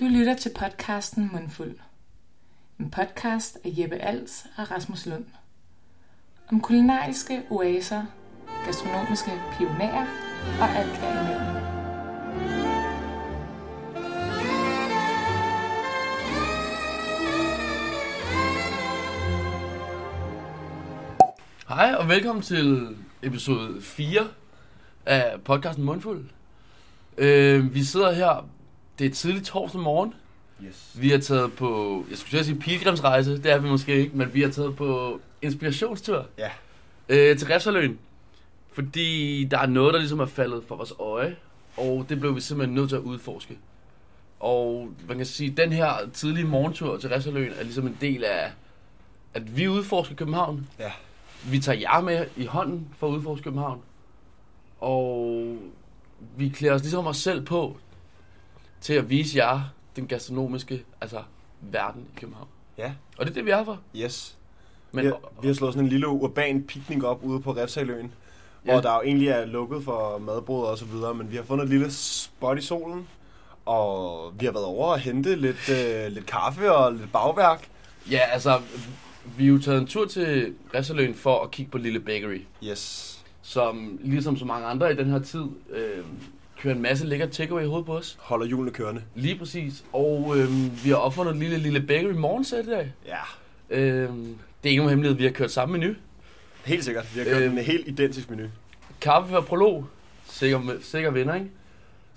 Du lytter til podcasten Mundfuld. En podcast af Jeppe Als og Rasmus Lund. Om kulinariske oaser, gastronomiske pionerer og alt derimellem. Hej og velkommen til episode 4 af podcasten Mundfuld. Øh, vi sidder her, det er tidligt torsdag morgen. Yes. Vi er taget på, jeg skulle til at sige pilgrimsrejse, det er vi måske ikke, men vi er taget på inspirationstur Ja. øh, til Refsaløen. Fordi der er noget, der ligesom er faldet for vores øje, og det blev vi simpelthen nødt til at udforske. Og man kan sige, at den her tidlige morgentur til Refsaløen er ligesom en del af, at vi udforsker København, Ja. vi tager jer med i hånden for at udforske København. Og vi klæder os ligesom os selv på til at vise jer den gastronomiske altså, verden i København. Ja. Og det er det, vi er her for. Yes. Men vi, har, vi har slået sådan en lille urban picnic op ude på Refsaløen, Ja. ja. hvor der jo egentlig er lukket for madbrød og så videre, men vi har fundet et lille spot i solen, og vi har været over og hente lidt, øh, lidt kaffe og lidt bagværk. ja, altså, vi er jo taget en tur til Refsaløen for at kigge på Lille Bakery, Yes. som ligesom så mange andre i den her tid, øh, kører en masse lækker takeaway i hovedet på os. Holder hjulene kørende. Lige præcis. Og øh, vi har opfundet en lille, lille bakery morgensæt i dag. Ja. Øh, det er ikke nogen hemmelighed, vi har kørt samme menu. Helt sikkert. Vi har kørt Øhm. øh, en helt identisk menu. Kaffe før prolog. Sikker, sikker vinder, ikke?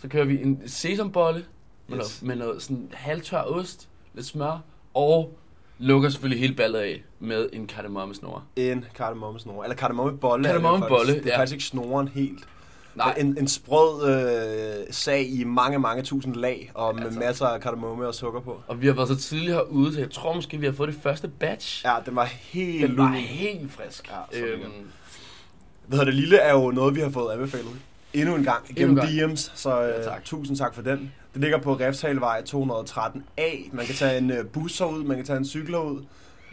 Så kører vi en sesambolle med, yes. Yes. noget, med noget sådan halvtør ost, lidt smør, og lukker selvfølgelig hele ballet af med en kardemommesnore. En kardemommesnore. Eller kardemommebolle. er det Kardemommebolle, faktisk. Det er ja. faktisk ikke snoren helt. Nej, Men En, en sprød øh, sag i mange, mange tusind lag, og med Altså. masser af kardemomme og sukker på. og vi har været så tidligt herude, så jeg tror måske, vi har fået det første batch. Ja, den var helt Den var lun. helt frisk. Ja, så øhm, lækkert. Hvad hedder det lille er jo noget, vi har fået anbefalet endnu en gang gennem en en DM's, så øh, Ja, tak. tak. tusind tak for den. Det ligger på Refshalvej 213A. Man kan tage en øh, bus herud, man kan tage en cykel herud.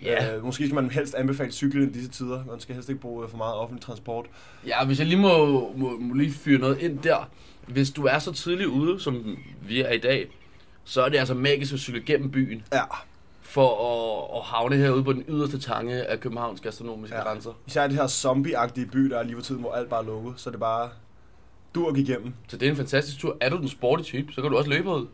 ja. Øh, måske skal man helst anbefale cyklen i disse tider. Man skal helst ikke bruge øh, for meget offentlig transport. ja, hvis jeg lige må, må, må lige fyre noget ind der. Hvis du er så tidligt ude, som vi er i dag, så er det altså magisk at cykle gennem byen. Ja, for at, at havne herude på den yderste tange af Københavns gastronomiske ja. Ja. grænser. især det her zombieagtige by, der er lige for tiden, hvor alt bare er lukket. Så det er bare durk igennem. Så det er en fantastisk tur. Er du den sporty type, så kan du også løbe ud.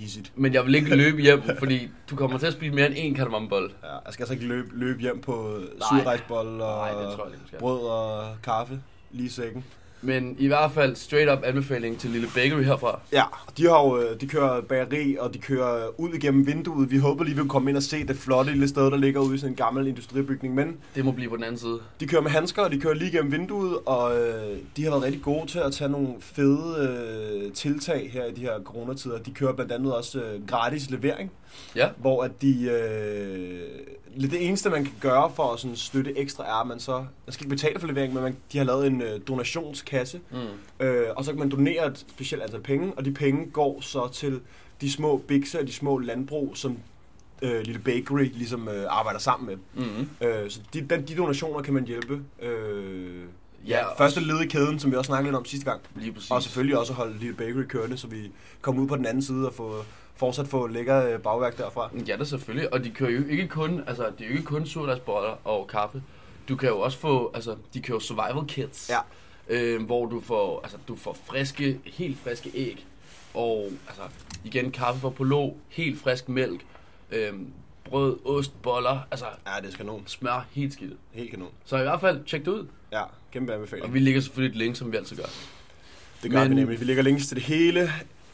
Easy't. Men jeg vil ikke løbe hjem, fordi du kommer til at spise mere end én kardemommebolle. Ja, jeg skal altså ikke løbe, løbe hjem på Nej. surdejsbold Nej, det tror jeg og ikke, du skal. brød og kaffe lige i sækken. Men i hvert fald straight up anbefaling til Lille Bakery herfra. Ja, og de, har jo, øh, de kører bageri, og de kører øh, ud igennem vinduet. Vi håber lige, vi kan komme ind og se det flotte lille sted, der ligger ude i sådan en gammel industribygning. Men Det må blive på den anden side. de kører med handsker, og de kører lige igennem vinduet, og øh, de har været rigtig gode til at tage nogle fede øh, tiltag her i de her coronatider. De kører blandt andet også øh, gratis levering, Ja. hvor at de... Øh, lidt det eneste, man kan gøre for at sådan, støtte ekstra, er, at man så... Man skal ikke betale for levering, men man, de har lavet en øh, donationskasse, Mm. Øh, og så kan man donere et specielt antal penge, og de penge går så til de små bikser og de små landbrug, som øh, Lille Bakery ligesom øh, arbejder sammen med. Mm. Øh, så de, den, de donationer kan man hjælpe. Øh, Ja, ja, første led i kæden, som vi også snakkede lidt om sidste gang. Lige præcis. Og selvfølgelig også at holde Lille Bakery kørende, så vi kommer ud på den anden side og få, fortsat få lækker øh, bagværk derfra. Ja, da selvfølgelig. Og de kører jo ikke kun, altså, det er jo ikke kun surdejsboller og kaffe. Du kan jo også få, altså, de kører survival kits. Ja. Øh, hvor du får, altså, du får friske, helt friske æg. Og, altså, igen, kaffe fra Polo, helt frisk mælk. Øh, brød, ost, boller, altså, Ja, det er kanon. smør, helt skidt. Helt kanon. Så i hvert fald, tjek det ud. Ja, kæmpe Og anbefaling. vi lægger selvfølgelig et link, som vi altid gør. Det gør Men- men... vi nemlig. Vi lægger links til det hele.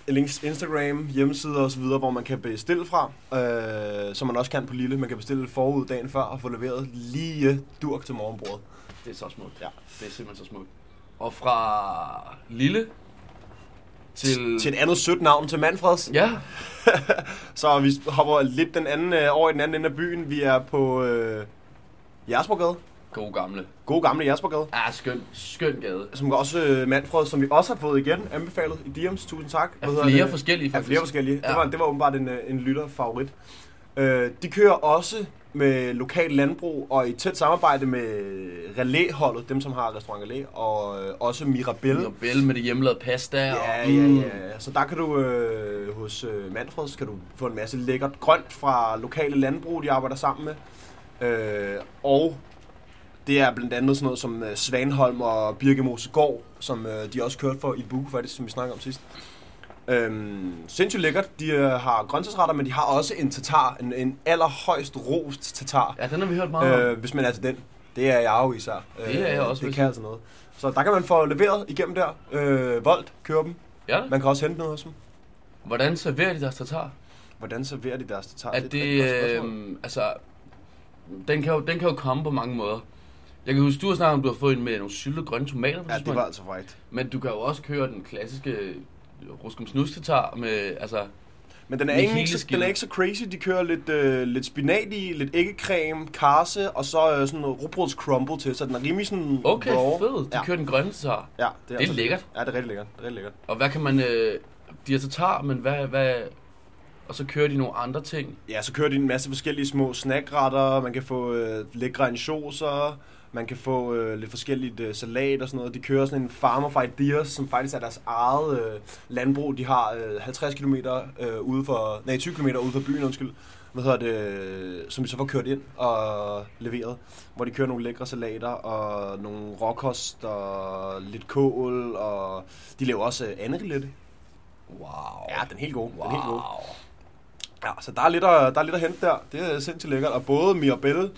Links til Instagram, hjemmesider osv., hvor man kan bestille fra. Øh, som man også kan på Lille. Man kan bestille forud dagen før og få leveret lige durk til morgenbordet. Det er så smukt. Ja. Det er simpelthen så smukt. Og fra Lille til... Til et andet sødt navn til Manfreds. Ja, Så vi hopper lidt den anden, øh, over i den anden ende af byen. Vi er på øh, Jersborgade. god gamle. God gamle Jersborgade. Ah, skøn, skøn gade. Som også øh, Manfred, som vi også har fået igen anbefalet i DM's. Tusind tak. Af hedder flere det? forskellige, Ja, faktisk. flere forskellige. Ja. Det, var, det var åbenbart en, øh, en lytterfavorit. Øh, de kører også med lokal landbrug og i tæt samarbejde med Relæholdet, dem som har restaurant Relæ, og øh, også Mirabelle. Nobel med det hjemmelavede pasta. Ja, og, ja, mm, ja, ja. Så der kan du øh, hos øh, Manfreds kan du få en masse lækkert grønt fra lokale landbrug, de arbejder sammen med. Øh, og det er blandt andet sådan noget som øh, Svanholm og Birkemose Gård, som øh, de også kørte for i Buku faktisk, som vi snakkede om sidst. Øhm, sindssygt lækkert. De øh, har grøntsagsretter, men de har også en tatar, en, en allerhøjst rost tatar. Ja, den har vi hørt meget om. Øh, hvis man er til den. Det er jeg jo især. Det er jeg også, Det hvis- kan altså noget. Så der kan man få leveret igennem der. Øh, Volt kører dem. Ja. Man kan også hente noget hos dem. Hvordan serverer de deres tatar? Hvordan serverer de deres tatar? at Ah, er et det, rigtig godt spørgsmål. øh, altså, den kan, jo, den kan jo komme på mange måder. Jeg kan huske, du har snakket om, du har fået en med nogle syltede grønne tomater. på ja, et det var tidspunkt. altså right. Men du kan jo også køre den klassiske ruskum snusketar med, altså, Men den er, Med egentlig ikke, hele så, den er skillet. ikke så crazy. De kører lidt, øh, lidt spinat i, lidt æggecreme, karse og så øh, sådan noget rugbrøds crumble til. Så den er rimelig sådan okay, raw. fed, de Ja, kører den grønne tatar. ja, altså- Det er lækkert. Ja, det er rigtig lækkert. Det er rigtig lækkert. Og hvad kan man, øh, de har tatar, men hvad, hvad, og så kører de nogle andre ting. Ja, så kører de en masse forskellige små snackretter. Man kan få øh, lækre ansjoser. Man kan få øh, lidt forskelligt øh, salat og sådan noget. De kører sådan en Farmer for Ideas, som faktisk er deres eget øh, landbrug. De har øh, 50 km øh, ude for, nej, 20 km ude for byen, undskyld. Hvad hedder det, øh, som de så får kørt ind og leveret. Hvor de kører nogle lækre salater og nogle råkost og lidt kål. Og de laver også øh, andelette. Wow. Ja, den er helt god. Den er helt god. Wow. Ja, så der er lidt at, der er lidt at hente der. Det er sindssygt lækkert. Og både Mirabelle,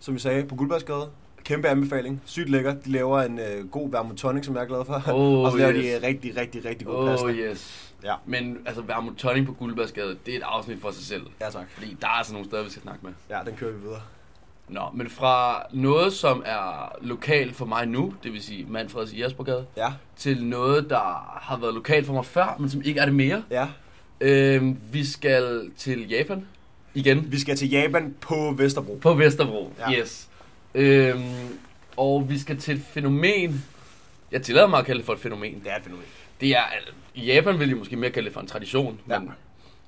som vi sagde, på Guldbergsgade, kæmpe anbefaling. Sygt lækkert. De laver en øh, god vermouth tonic, som jeg er glad for. Oh, og så laver yes. de rigtig, rigtig, rigtig god oh, pasta. Oh Yeah. yes. Ja. Men altså, Vermouth Tonic på Guldbergsgade, det er et afsnit for sig selv. Ja, tak. Fordi der er altså nogle steder, vi skal snakke med. Ja, den kører vi videre. Nå, men fra noget, som er lokalt for mig nu, det vil sige Manfreds i Jespergade, Ja, til noget, der har været lokalt for mig før, men som ikke er det mere. ja. Øh, vi skal til Japan igen Vi skal til Japan på Vesterbro. på Vesterbro. Ja. Ja. Yes. Øh, og vi skal til et fænomen. Jeg tillader mig at kalde det for et fænomen. Det er et fænomen. Det er, al- i Japan vil de måske mere kalde det for en tradition, Ja. ja. men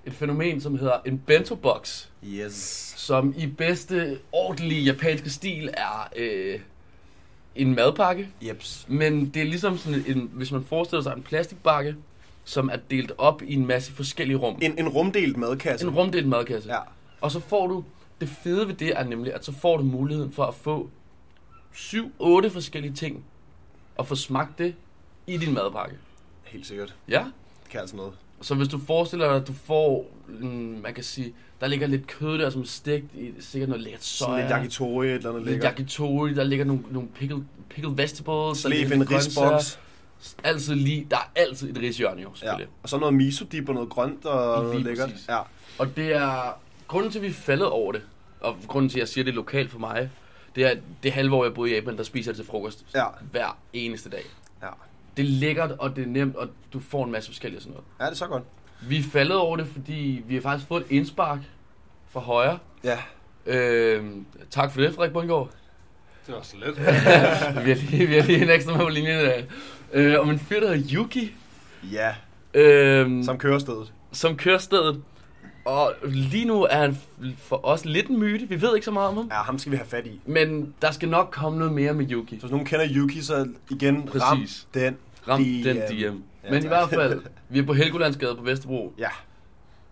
et fænomen, som hedder en bento box. Yes. som i bedste ordentlige japanske stil er øh, en madpakke. Jeps. Men det er ligesom sådan en, hvis man forestiller sig en plastikbakke, som er delt op i en masse forskellige rum. En, en rumdelt madkasse. En rumdelt madkasse. Ja. Og så får du, det fede ved det er nemlig, at så får du muligheden for at få 7-8 forskellige ting, og få smagt det i din madpakke. Helt sikkert. Ja? Det kan altså noget. Så hvis du forestiller dig, at du får, mm, man kan sige, der ligger lidt kød der, som er stegt i, sikkert noget lækkert soja. Sådan lidt yakitori, et eller andet Lidt lækkert. yakitori, der ligger nogle, nogle pickled, pickled vegetables. der Slæb ligger en lidt grøntsager. risboks. Altid lige, der er altid et rishjørne jo, Ja. selvfølgelig. Og så noget miso dip og noget grønt og Lige noget lækkert. præcis. Ja. Og det er, grunden til, at vi er faldet over det, og grunden til, at jeg siger, det er lokalt for mig, det er, at det halve år, jeg boede i Japan, der spiser jeg det til frokost Ja. hver eneste dag. Ja. Det er lækkert, og det er nemt, og du får en masse forskellige og sådan noget. Ja, det er så godt. Vi er faldet over det, fordi vi har faktisk fået et indspark fra højre. Ja. Øh, tak for det, Frederik Bundgaard. Det var så let. vi, har lige, vi har lige en ekstra med på linjen i dag. Øh, om en fyr, der hedder Yuki. Ja, Øhm, som... som kørestedet. som kørestedet. Og lige nu er han f- for os lidt en myte. Vi ved ikke så meget om ham. Ja, ham skal vi have fat i. Men der skal nok komme noget mere med Yuki. Så hvis nogen kender Yuki, så igen, Præcis. ram den. Ram DM. DM. den DM. Ja, Ja, Men i tak. hvert fald, vi er på Helgolandsgade på Vesterbro. Ja.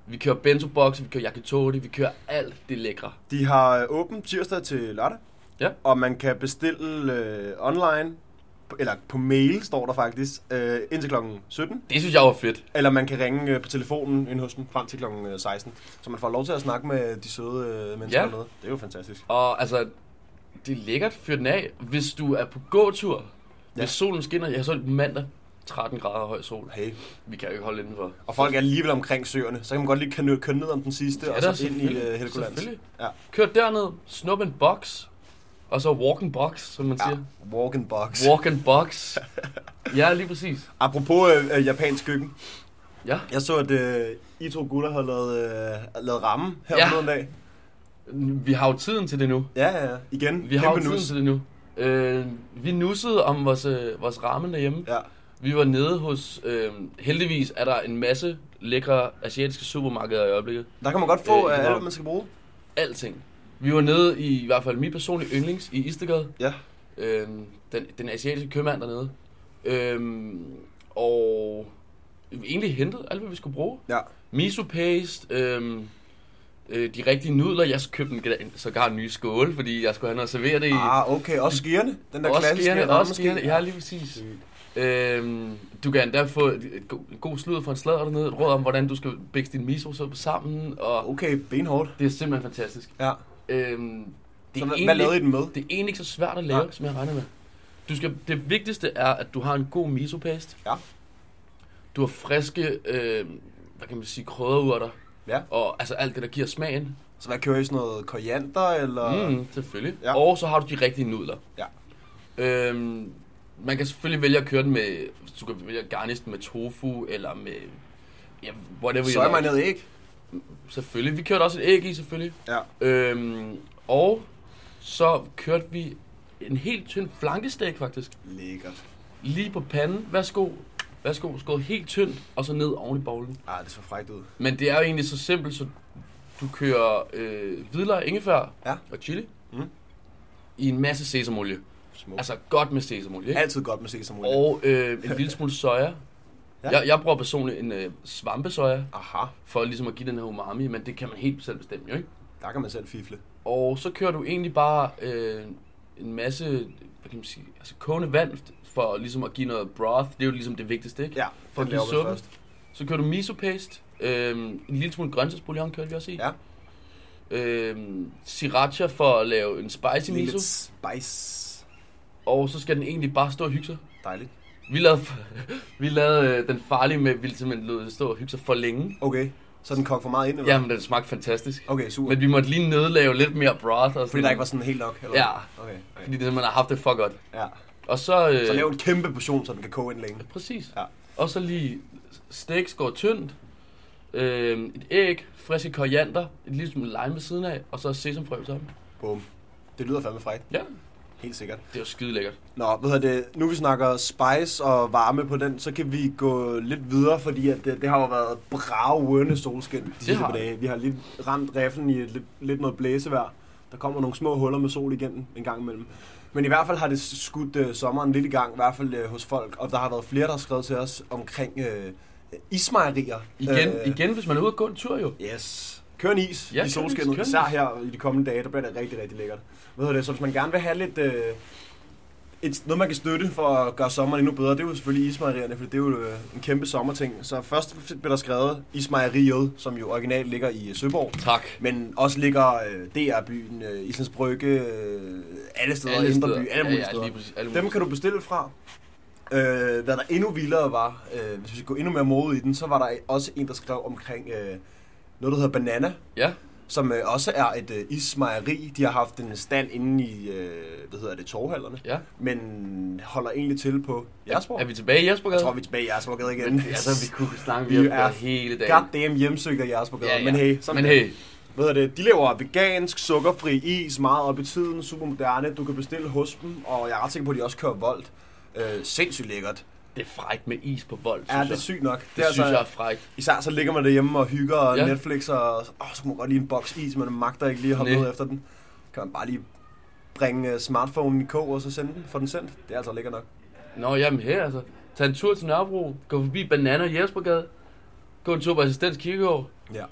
Vi kører bento box, vi kører yakitori, vi kører alt det lækre. De har øh, åbent tirsdag til lørdag. Ja. Og man kan bestille øh, online, p- eller på mail står der faktisk, øh, indtil kl. 17. Det synes jeg var fedt. Eller man kan ringe øh, på telefonen ind hos dem frem til kl. 16. Så man får lov til at snakke med de søde øh, mennesker Ja. ja. dernede. Det er jo fantastastisk. Og altså, det er lækkert. Fyr den af. Hvis du er på gåtur, ja. Ja. hvis solen skinner, jeg så mandag, 13 grader høj sol. Hey. Vi kan jo ikke holde indenfor. Og folk er alligevel omkring søerne, så kan man godt lige køre køre ned om den sidste, Ja, og da, så ind i selvfølgelig. øh, Helgoland. Selvfølgelig. Ja. Kør derned, snup en box, og så walk and box, som man ja. siger. Walk and box. Walk and box. ja, lige præcis. Apropos øh, øh, japansk køkken. Ja, Jeg så, at øh, I to gutter havde lavet, øh, lavet ramme her ja. Ja. på en dag. vi har jo tiden til det nu. Ja, ja, ja. Igen. Vi har jo kæmpe tiden nus. til det nu. Øh, vi nussede om vores, øh, vores ramen derhjemme. Ja. Vi var nede hos... Øh, heldigvis er der en masse lækre asiatiske supermarkeder i øjeblikket. Der kan man godt få Øh, øh, i alt, København. man skal bruge. Alting. Vi var nede i, i hvert fald min personlige yndlings i Istegade. Ja. Øhm, den, den asiatiske købmand dernede. Øhm, og vi egentlig hentede alt, hvad vi skulle bruge. Ja. Miso paste, øhm, øh, de rigtige nudler. Jeg købte en, sågar en ny skåle, fordi jeg skulle have noget at servere det i. Ah, okay. Også skierne. Den der også klassiske skærende, ramme- også skærende. Ja, lige præcis. Øhm, du kan endda få et, et, go- en god sludder for en sladder dernede, et råd om, hvordan du skal bække din miso-suppe sammen, og Ah, Okay, benhårdt. det er simpelthen fantastisk. Ja. Øhm, det, Så er hvad, hvad egentlig, lavede I ikke- den med? det er egentlig ikke så svært at lave, Nej. som jeg regner med. Du skal, det vigtigste er, at du har en god miso-paste. Ja. Du har friske, øh, hvad kan man sige, krydderurter. Ja. Og altså alt det, der giver smagen. Så hvad kører I sådan noget koriander, eller? Mm, selvfølgelig. Ja. Ja. Og så har du de rigtige nudler. Ja. Øhm, man kan selvfølgelig vælge at køre den med, du kan vælge at garnish den med tofu, eller med, ja, whatever Så you er like. man ned æg. Selvfølgelig. Vi kørte også et æg i, selvfølgelig. Ja. Øhm, og så kørte vi en helt tynd flankesteg, faktisk. Lækkert. Lige på panden. Værsgo. Værsgo. Skåret helt tyndt, og så ned oven i bowlen. Ah, det så frækt ud. Men det er jo egentlig så simpelt, så du kører øh, hvidløg, ingefær Ja. og chili Mm. i en masse sesamolie. Smuk. Altså, Altså godt med sesamolie. Ikke? Altid godt med sesamolie. Og øh, en lille smule soja. Ja. Ja. Jeg, jeg bruger personligt en øh, svampesoja, Aha, for ligesom at give den her umami, men det kan man helt selv bestemme jo, ikke? der kan man selv fifle. Og så kører du egentlig bare øh, en masse, hvad kan man sige, altså kogende vand, for ligesom at give noget broth. Det er jo ligesom det vigtigste, ikke? Ja, For den at give laver man suppe. først. Så kører du miso paste, øh, en lille smule grøntsagsbouillon kørte vi også i. Ja. Øh, sriracha for at lave en spicy Lige miso. lidt spice. Og så skal den egentlig bare stå og hygge sig. Dejligt. Vi lavede, vi lavede øh, den farlige med, at vi simpelthen lod det stå og hygge sig for længe. Okay, så den kogte for meget ind, eller? Jamen, den smagte fantastisk. Okay, super. Men vi måtte lige nedlave lidt mere broth. Og Fordi der ikke var sådan helt nok, eller? Ja, Okay, okay. fordi det simpelthen har haft det for godt. Ja. Og så... Øh, Så lav en kæmpe portion, så den kan koge ind længe. Præcis. Ja. Og så lige steak skåret tyndt, øh, et æg, friske koriander, et lille smule lime ved siden af, og så sesamfrø på toppen. Bum. Det lyder fandme frækt. Ja, Helt sikkert. det er jo skide lækkert. Nå, ved jeg det, nu vi snakker spice og varme på den, så kan vi gå lidt videre, fordi at det, det har jo været bravende solskin de sidste har par det. dage. Vi har lige ramt riffen i et, lidt, lidt noget blæsevejr. Der kommer nogle små huller med sol igennem en gang imellem. Men i hvert fald har det skudt øh, sommeren lidt i gang, i hvert fald øh, hos folk. Og der har været flere, der har skrevet til os omkring øh, ismejerier. Igen, øh, igen, hvis man er ude og gå en tur jo. Yes. Kør en is Ja, kør i en solskinnet, is, kør en især is. her i de kommende dage, der bliver det rigtig, rigtig lækkert. Ved du det, så hvis man gerne vil have lidt, øh, et, noget man kan støtte for at gøre sommeren endnu bedre, det er jo selvfølgelig ismejerierne, for det er jo øh, en kæmpe sommerting. Så først bliver der skrevet ismejeriet, som jo originalt ligger i øh, Søborg, Tak. men også ligger øh, DR-byen, øh, Islands Brygge, øh, alle steder, alle Alle Indre steder. By, alle Ja, mulige ja, steder. lige præcis, alle Dem mulige kan du bestille fra. Øh, hvad der endnu vildere var, øh, hvis vi skulle endnu mere mode i den, så var der også en, der skrev omkring øh, noget, der hedder Banana, Ja, som øh, også er et øh, ismejeri. De har haft en stand inde i, øh, hvad hedder det, torvhallerne, ja. men holder egentlig til på Jersborg. Er vi tilbage i Jespergade? Jeg tror, vi er tilbage i Jersborgade igen. Men, altså, vi kunne snakke Vi videre er hele dagen. God damn hjemsøgt af Jersborgade, Ja, ja. men hey, sådan Men er det. hey, Hvad hedder det? De laver vegansk, sukkerfri is, meget op i tiden, super moderne. Du kan bestille hos dem, og jeg er ret sikker på, at de også kører voldt. Øh, sindssygt lækkert. det er frækt med is på vold, synes Ja, det er jeg. sygt nok. Det, det er altså- synes jeg er frækt. Især så ligger man derhjemme og hygger og ja. Ja. Netflix, og åh, så må man godt lige en boks is, men man magter ikke lige at hoppe Næ. ud efter den. Kan man bare lige bringe øh, smartphonen i kog og så sende den, få den sendt. Det er altså lækkert nok. Nå, jamen her altså. Tag en tur til Nørrebro, gå forbi Banana og Jespergade, gå en tur på Assistens Kirkegård. Ja.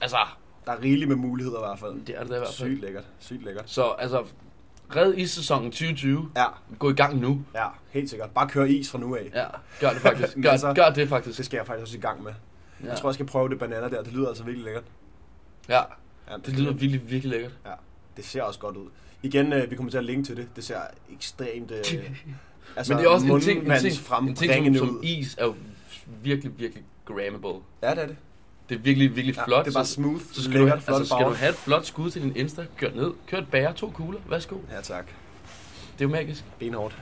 Altså, Der er rigeligt med muligheder i hvert fald. det er det da i hvert fald. Sygt lækkert. Sygt lækkert. Så altså, red issæsonen 2020. Ja, Gå i gang nu. ja, helt sikkert. Bare kør is fra nu af. Ja, gør det faktisk. Men Gør, altså- gør det faktisk. Det skal jeg faktisk også i gang med. Ja. Jeg tror, jeg skal prøve det banana der. Det lyder altså virkelig lækkert. ja. Ja, det lyder virkelig, virkelig lækkert. Ja, det ser også godt ud. Igen, øh, vi kommer til at linke til det. Det ser ekstremt... Øh, altså, Men det er også en ting, en ting, en ting som, mundmandsfrembringende som ud. is er jo virkelig, virkelig grammable. Ja, det er det. Det er virkelig, virkelig Ja, flot. det er bare så, smooth, så skal, lækkert, du, flot altså, skal farver. du have et flot skud til din Insta, kør ned, kør et bære, to kugler, værsgo. Ja, tak. Det er jo magisk. Benhårdt.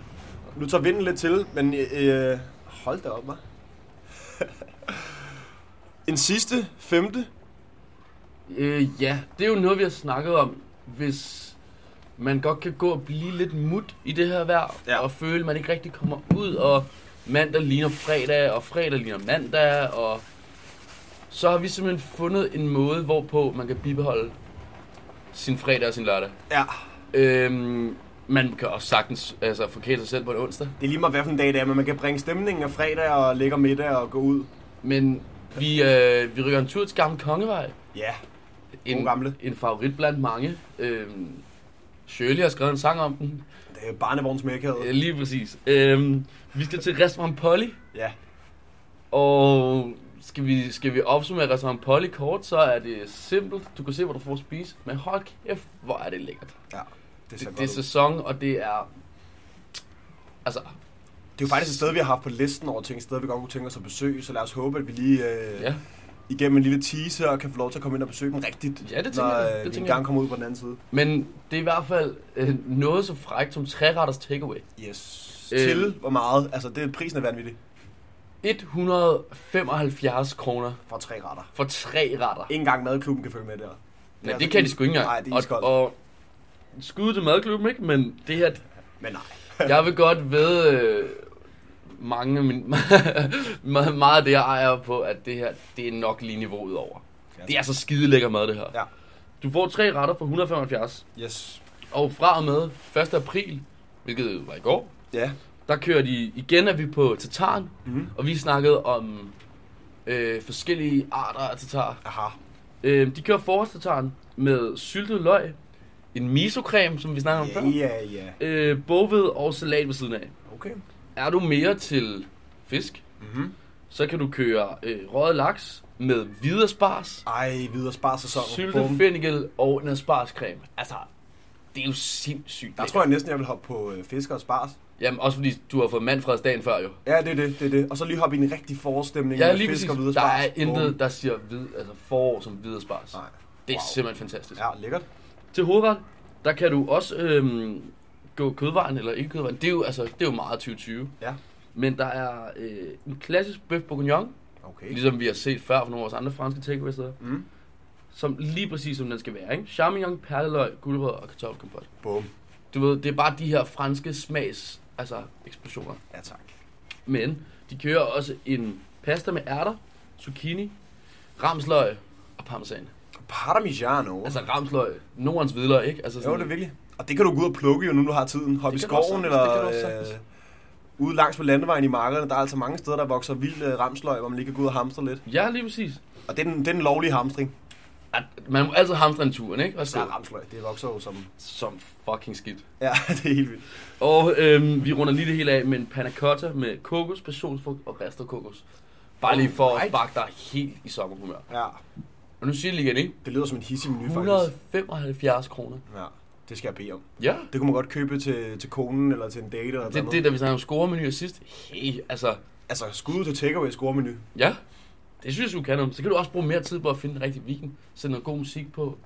Nu tager vinden lidt til, men øh, hold da op, hva'? en sidste, femte. Øh, ja, det er jo noget, vi har snakket om, hvis man godt kan gå og blive lidt mut i det her vejr, Ja. ja. og føle, at man ikke rigtig kommer ud, og mandag ligner fredag, og fredag ligner mandag, og så har vi simpelthen fundet en måde, hvorpå man kan bibeholde sin fredag og sin lørdag. Ja, Øhm, man kan også sagtens altså, forkæle sig selv på en onsdag. det er lige meget, hvilken dag det er, men man kan bringe stemningen af fredag og lægge om middag og gå ud. Men vi, øh, vi rykker en tur til Gamle Kongevej. Ja, En, God gamle. en favorit blandt mange. Øhm, Shirley har skrevet en sang om den. det er barnevogns Øh, mækhed. lige præcis. Øhm, vi skal til Restaurant Polly. Ja, Og skal vi, skal vi opsummere restaurant Polly kort, så er det simpelt. Du kan se, hvor du får at spise. Men hold kæft, hvor er det lækkert. ja. Det, ser Det, godt det er ud. sæson, og det er... Altså, det er jo faktisk et sted, vi har haft på listen over ting, steder vi godt kunne tænke os at besøge, så lad os håbe, at vi lige øh, ja. igennem en lille teaser kan få lov til at komme ind og besøge dem rigtigt, Ja, det tænker når jeg. Det øh, vi tænker engang jeg. kommer ud på den anden side. Men det er i hvert fald øh, noget så frækt som træretters takeaway. Yes. Øh. Til hvor meget? Altså, det, prisen er vanvittig 175 kroner for tre retter. for tre retter. Ingen gang madklubben kan følge med der. Nej, altså det kan de sgu ikke engang. Nej, det er og, iskoldt. og skud til madklubben, ikke? Men det her, Men nej. Jeg vil godt ved øh, mange af min, meget- meget af det, jeg ejer på, at det her, det er nok lige niveauet over. Det er så skide lækker mad, det her. Ja. Du får tre retter for 175, Yes. og fra og med 1. april, hvilket var i går, Ja. der kører de, igen er vi på tataren, Mhm. og vi snakkede om øh, forskellige arter af tatar. Aha. Øh, de kører forårstataren med syltet løg, en misocreme, som vi snakkede om Ja, ja, ja. før, øh, boghved og salat ved siden af. Okay. Er du mere til fisk, Mhm. så kan du køre øh, røget laks med hvide asparges, Ej, videre sparsæson. sylte fennikel og en aspargescreme. Altså, det er jo sindssygt. Der lækkert. tror jeg næsten, jeg vil hoppe på øh, fisker og spars. Jamen, også fordi du har fået mandfreds dagen før jo. Ja, det er det, det er det. Og så lige hoppe i en rigtig forestemning Ja, med lige fisk og hvide præcis. Der spars. er intet, Bum. der siger hvid, altså forår som hvide asparges. Nej. Det er Wow. simpelthen fantastisk. Ja, lækkert. Til hovedret, der kan du også øhm, gå kødvejen eller ikke kødvejen. Det er jo, altså, det er jo meget 2020. Ja. Men der er øh, en klassisk bøf bourguignon, Okay. ligesom vi har set før fra nogle af vores andre franske takeaway steder. Mm. som lige præcis som den skal være, ikke? Charmignon, perleløg, gulerødder og kartoffelkompot. Bum. Du ved, det er bare de her franske smags, altså eksplosioner. Ja, tak. Men de kører også en pasta med ærter, zucchini, ramsløg og parmesan. Parmigiano. Altså ramsløg, Nordens hvidløg, ikke? Altså Jo, det er virkelig. Og det kan du gå ud og plukke jo, nu du har tiden. Hoppe i Det kan du også skoven sagtens, det eller kan du også øh, sagtens. ude langs på landevejen i markerne. Der er altså mange steder, der vokser vild øh, ramsløg, hvor man lige kan gå ud og hamstre lidt. Ja, lige præcis. Og det er den, det er den lovlige hamstring. At man må altid hamstre en tur, ikke? Og Så så, ramsløg, det vokser jo som... som fucking skidt. Ja, det er helt vildt. Og øhm, vi runder lige det hele af med en panna cotta med kokos, passionsfrugt og ristet kokos. Bare lige for at Alright. sparke dig helt i sommerhumør. Ja, Og nu siger jeg det lige igen, ikke? det lyder som en hissig menu, faktisk. 175 kroner. Ja, det skal jeg bede om. Ja. Det kunne man godt købe til, til konen eller til en date eller Det, noget. det, da vi snakkede om scoremenuer sidst. Hey, altså, Altså, skud til takeaway scoremenu. ja. Det synes jeg, du kan om. Så kan du også bruge mere tid på at finde den rigtige weekend. Sætte noget god musik på.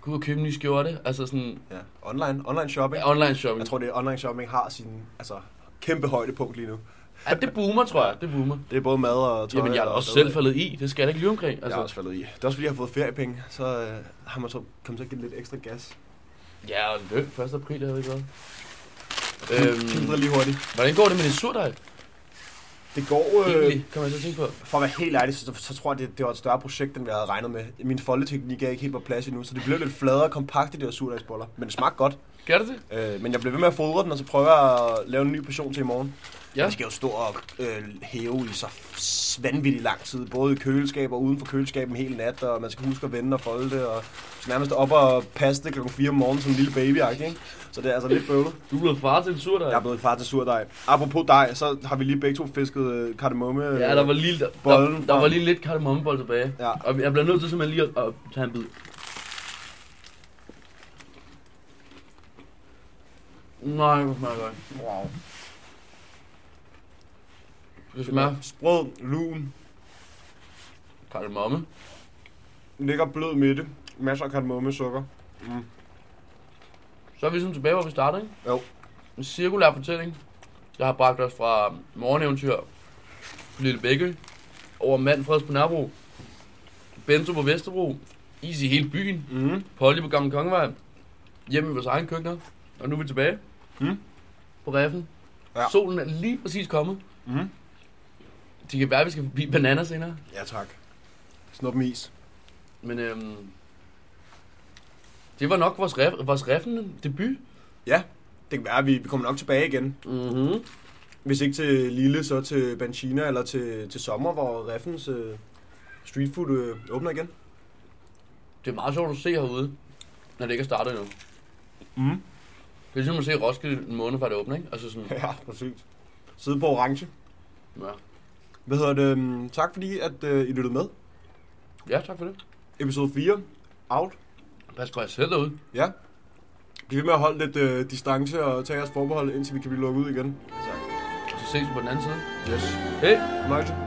Gå ud og købe en ny skjorte. Altså sådan Ja, online, online shopping. ja, online shopping. Jeg tror, det er online shopping har sin altså, kæmpe højdepunkt lige nu. ja, det boomer, tror jeg. Det boomer. Det er både mad og tøj. Jamen, jeg er da og også bedre. selv faldet i. Det skal jeg da ikke lyve omkring. Jeg er Altså, også faldet i. Det er også fordi, jeg har fået feriepenge, så øh, har man så kommet til at give lidt ekstra gas. ja, og løn 1. april, jeg ved ikke hvad. Kildre Øhm, lige hurtigt. hvordan går det med din surdej? Det går, øh, Egentlig, kan man så tænke på. for at være helt ærlig, så, så tror jeg, det, det var et større projekt, end jeg havde regnet med. Min foldeteknik er ikke helt på plads endnu, så det blev lidt fladere og kompakt i de her surdagsboller. Men det smagte godt. Gør det det? Øh, men jeg blev ved med at fodre den, og så prøver jeg at lave en ny portion til i morgen. Ja. Den skal jo stå og øh, hæve i så f- vanvittigt lang tid. Både i køleskab og uden for køleskabet en hel nat, og man skal huske at vende og folde det. Og så nærmest op og passe det klokken 4 om morgenen som en lille baby ikke? Så det er altså lidt bøvlet. Du er blevet far til en surdej. Jeg er blevet far til surdej. Apropos dej, så har vi lige begge to fisket øh, kardemomme. Ja, der var lige, der, Bollen der, der frem. var lige lidt kardemommebold tilbage. Ja. Og jeg bliver nødt til simpelthen lige at, at tage en bid. Nej, hvor smager det godt. Wow. Det smager Sprød, lun, kardemomme. lækker blød midte, masser af kardemomme sukker. Mm. Så er vi sådan tilbage, hvor vi startede, ikke? Jo. En cirkulær fortælling, der har bragt os fra morgeneventyr på Lille Bækø, over Manfreds på Nørrebro, Bento på Vesterbro, is i hele byen, Mm. Polly på Gamle Kongevej, hjemme i vores egen køkkener, og nu er vi tilbage Mm. på Reffen. Hmm? Ja. Ja. Solen er lige præcis kommet. Mm. Det kan være, at vi skal forbi bananer senere, Ja tak. Snup med is. men øhm, Det var nok vores, ref- vores reffende debut. Ja, det kan være, at vi, vi kommer nok tilbage igen. Mm-hmm. Hvis ikke til Lille, så til Banchina eller til, til sommer, hvor Reffens øh, street food øh, åbner igen. Det er meget sjovt at se herude, når det ikke er startet endnu. Mm. Det er ligesom at se Roskilde en måned før det åbner, ikke? Altså sådan, Ja, præcis. Sidde på orange. ja. Hvad hedder det? øhm, Tak fordi, at øh, I lyttede med. ja, tak for det. Episode 4. Out. Pas på jer selv derude. Ja. Bliv ved med at holde lidt øh, distance og tage jeres forbehold, indtil vi kan blive lukket ud igen. Og så ses vi på den anden side. Yes. Hej! Fornøjelse.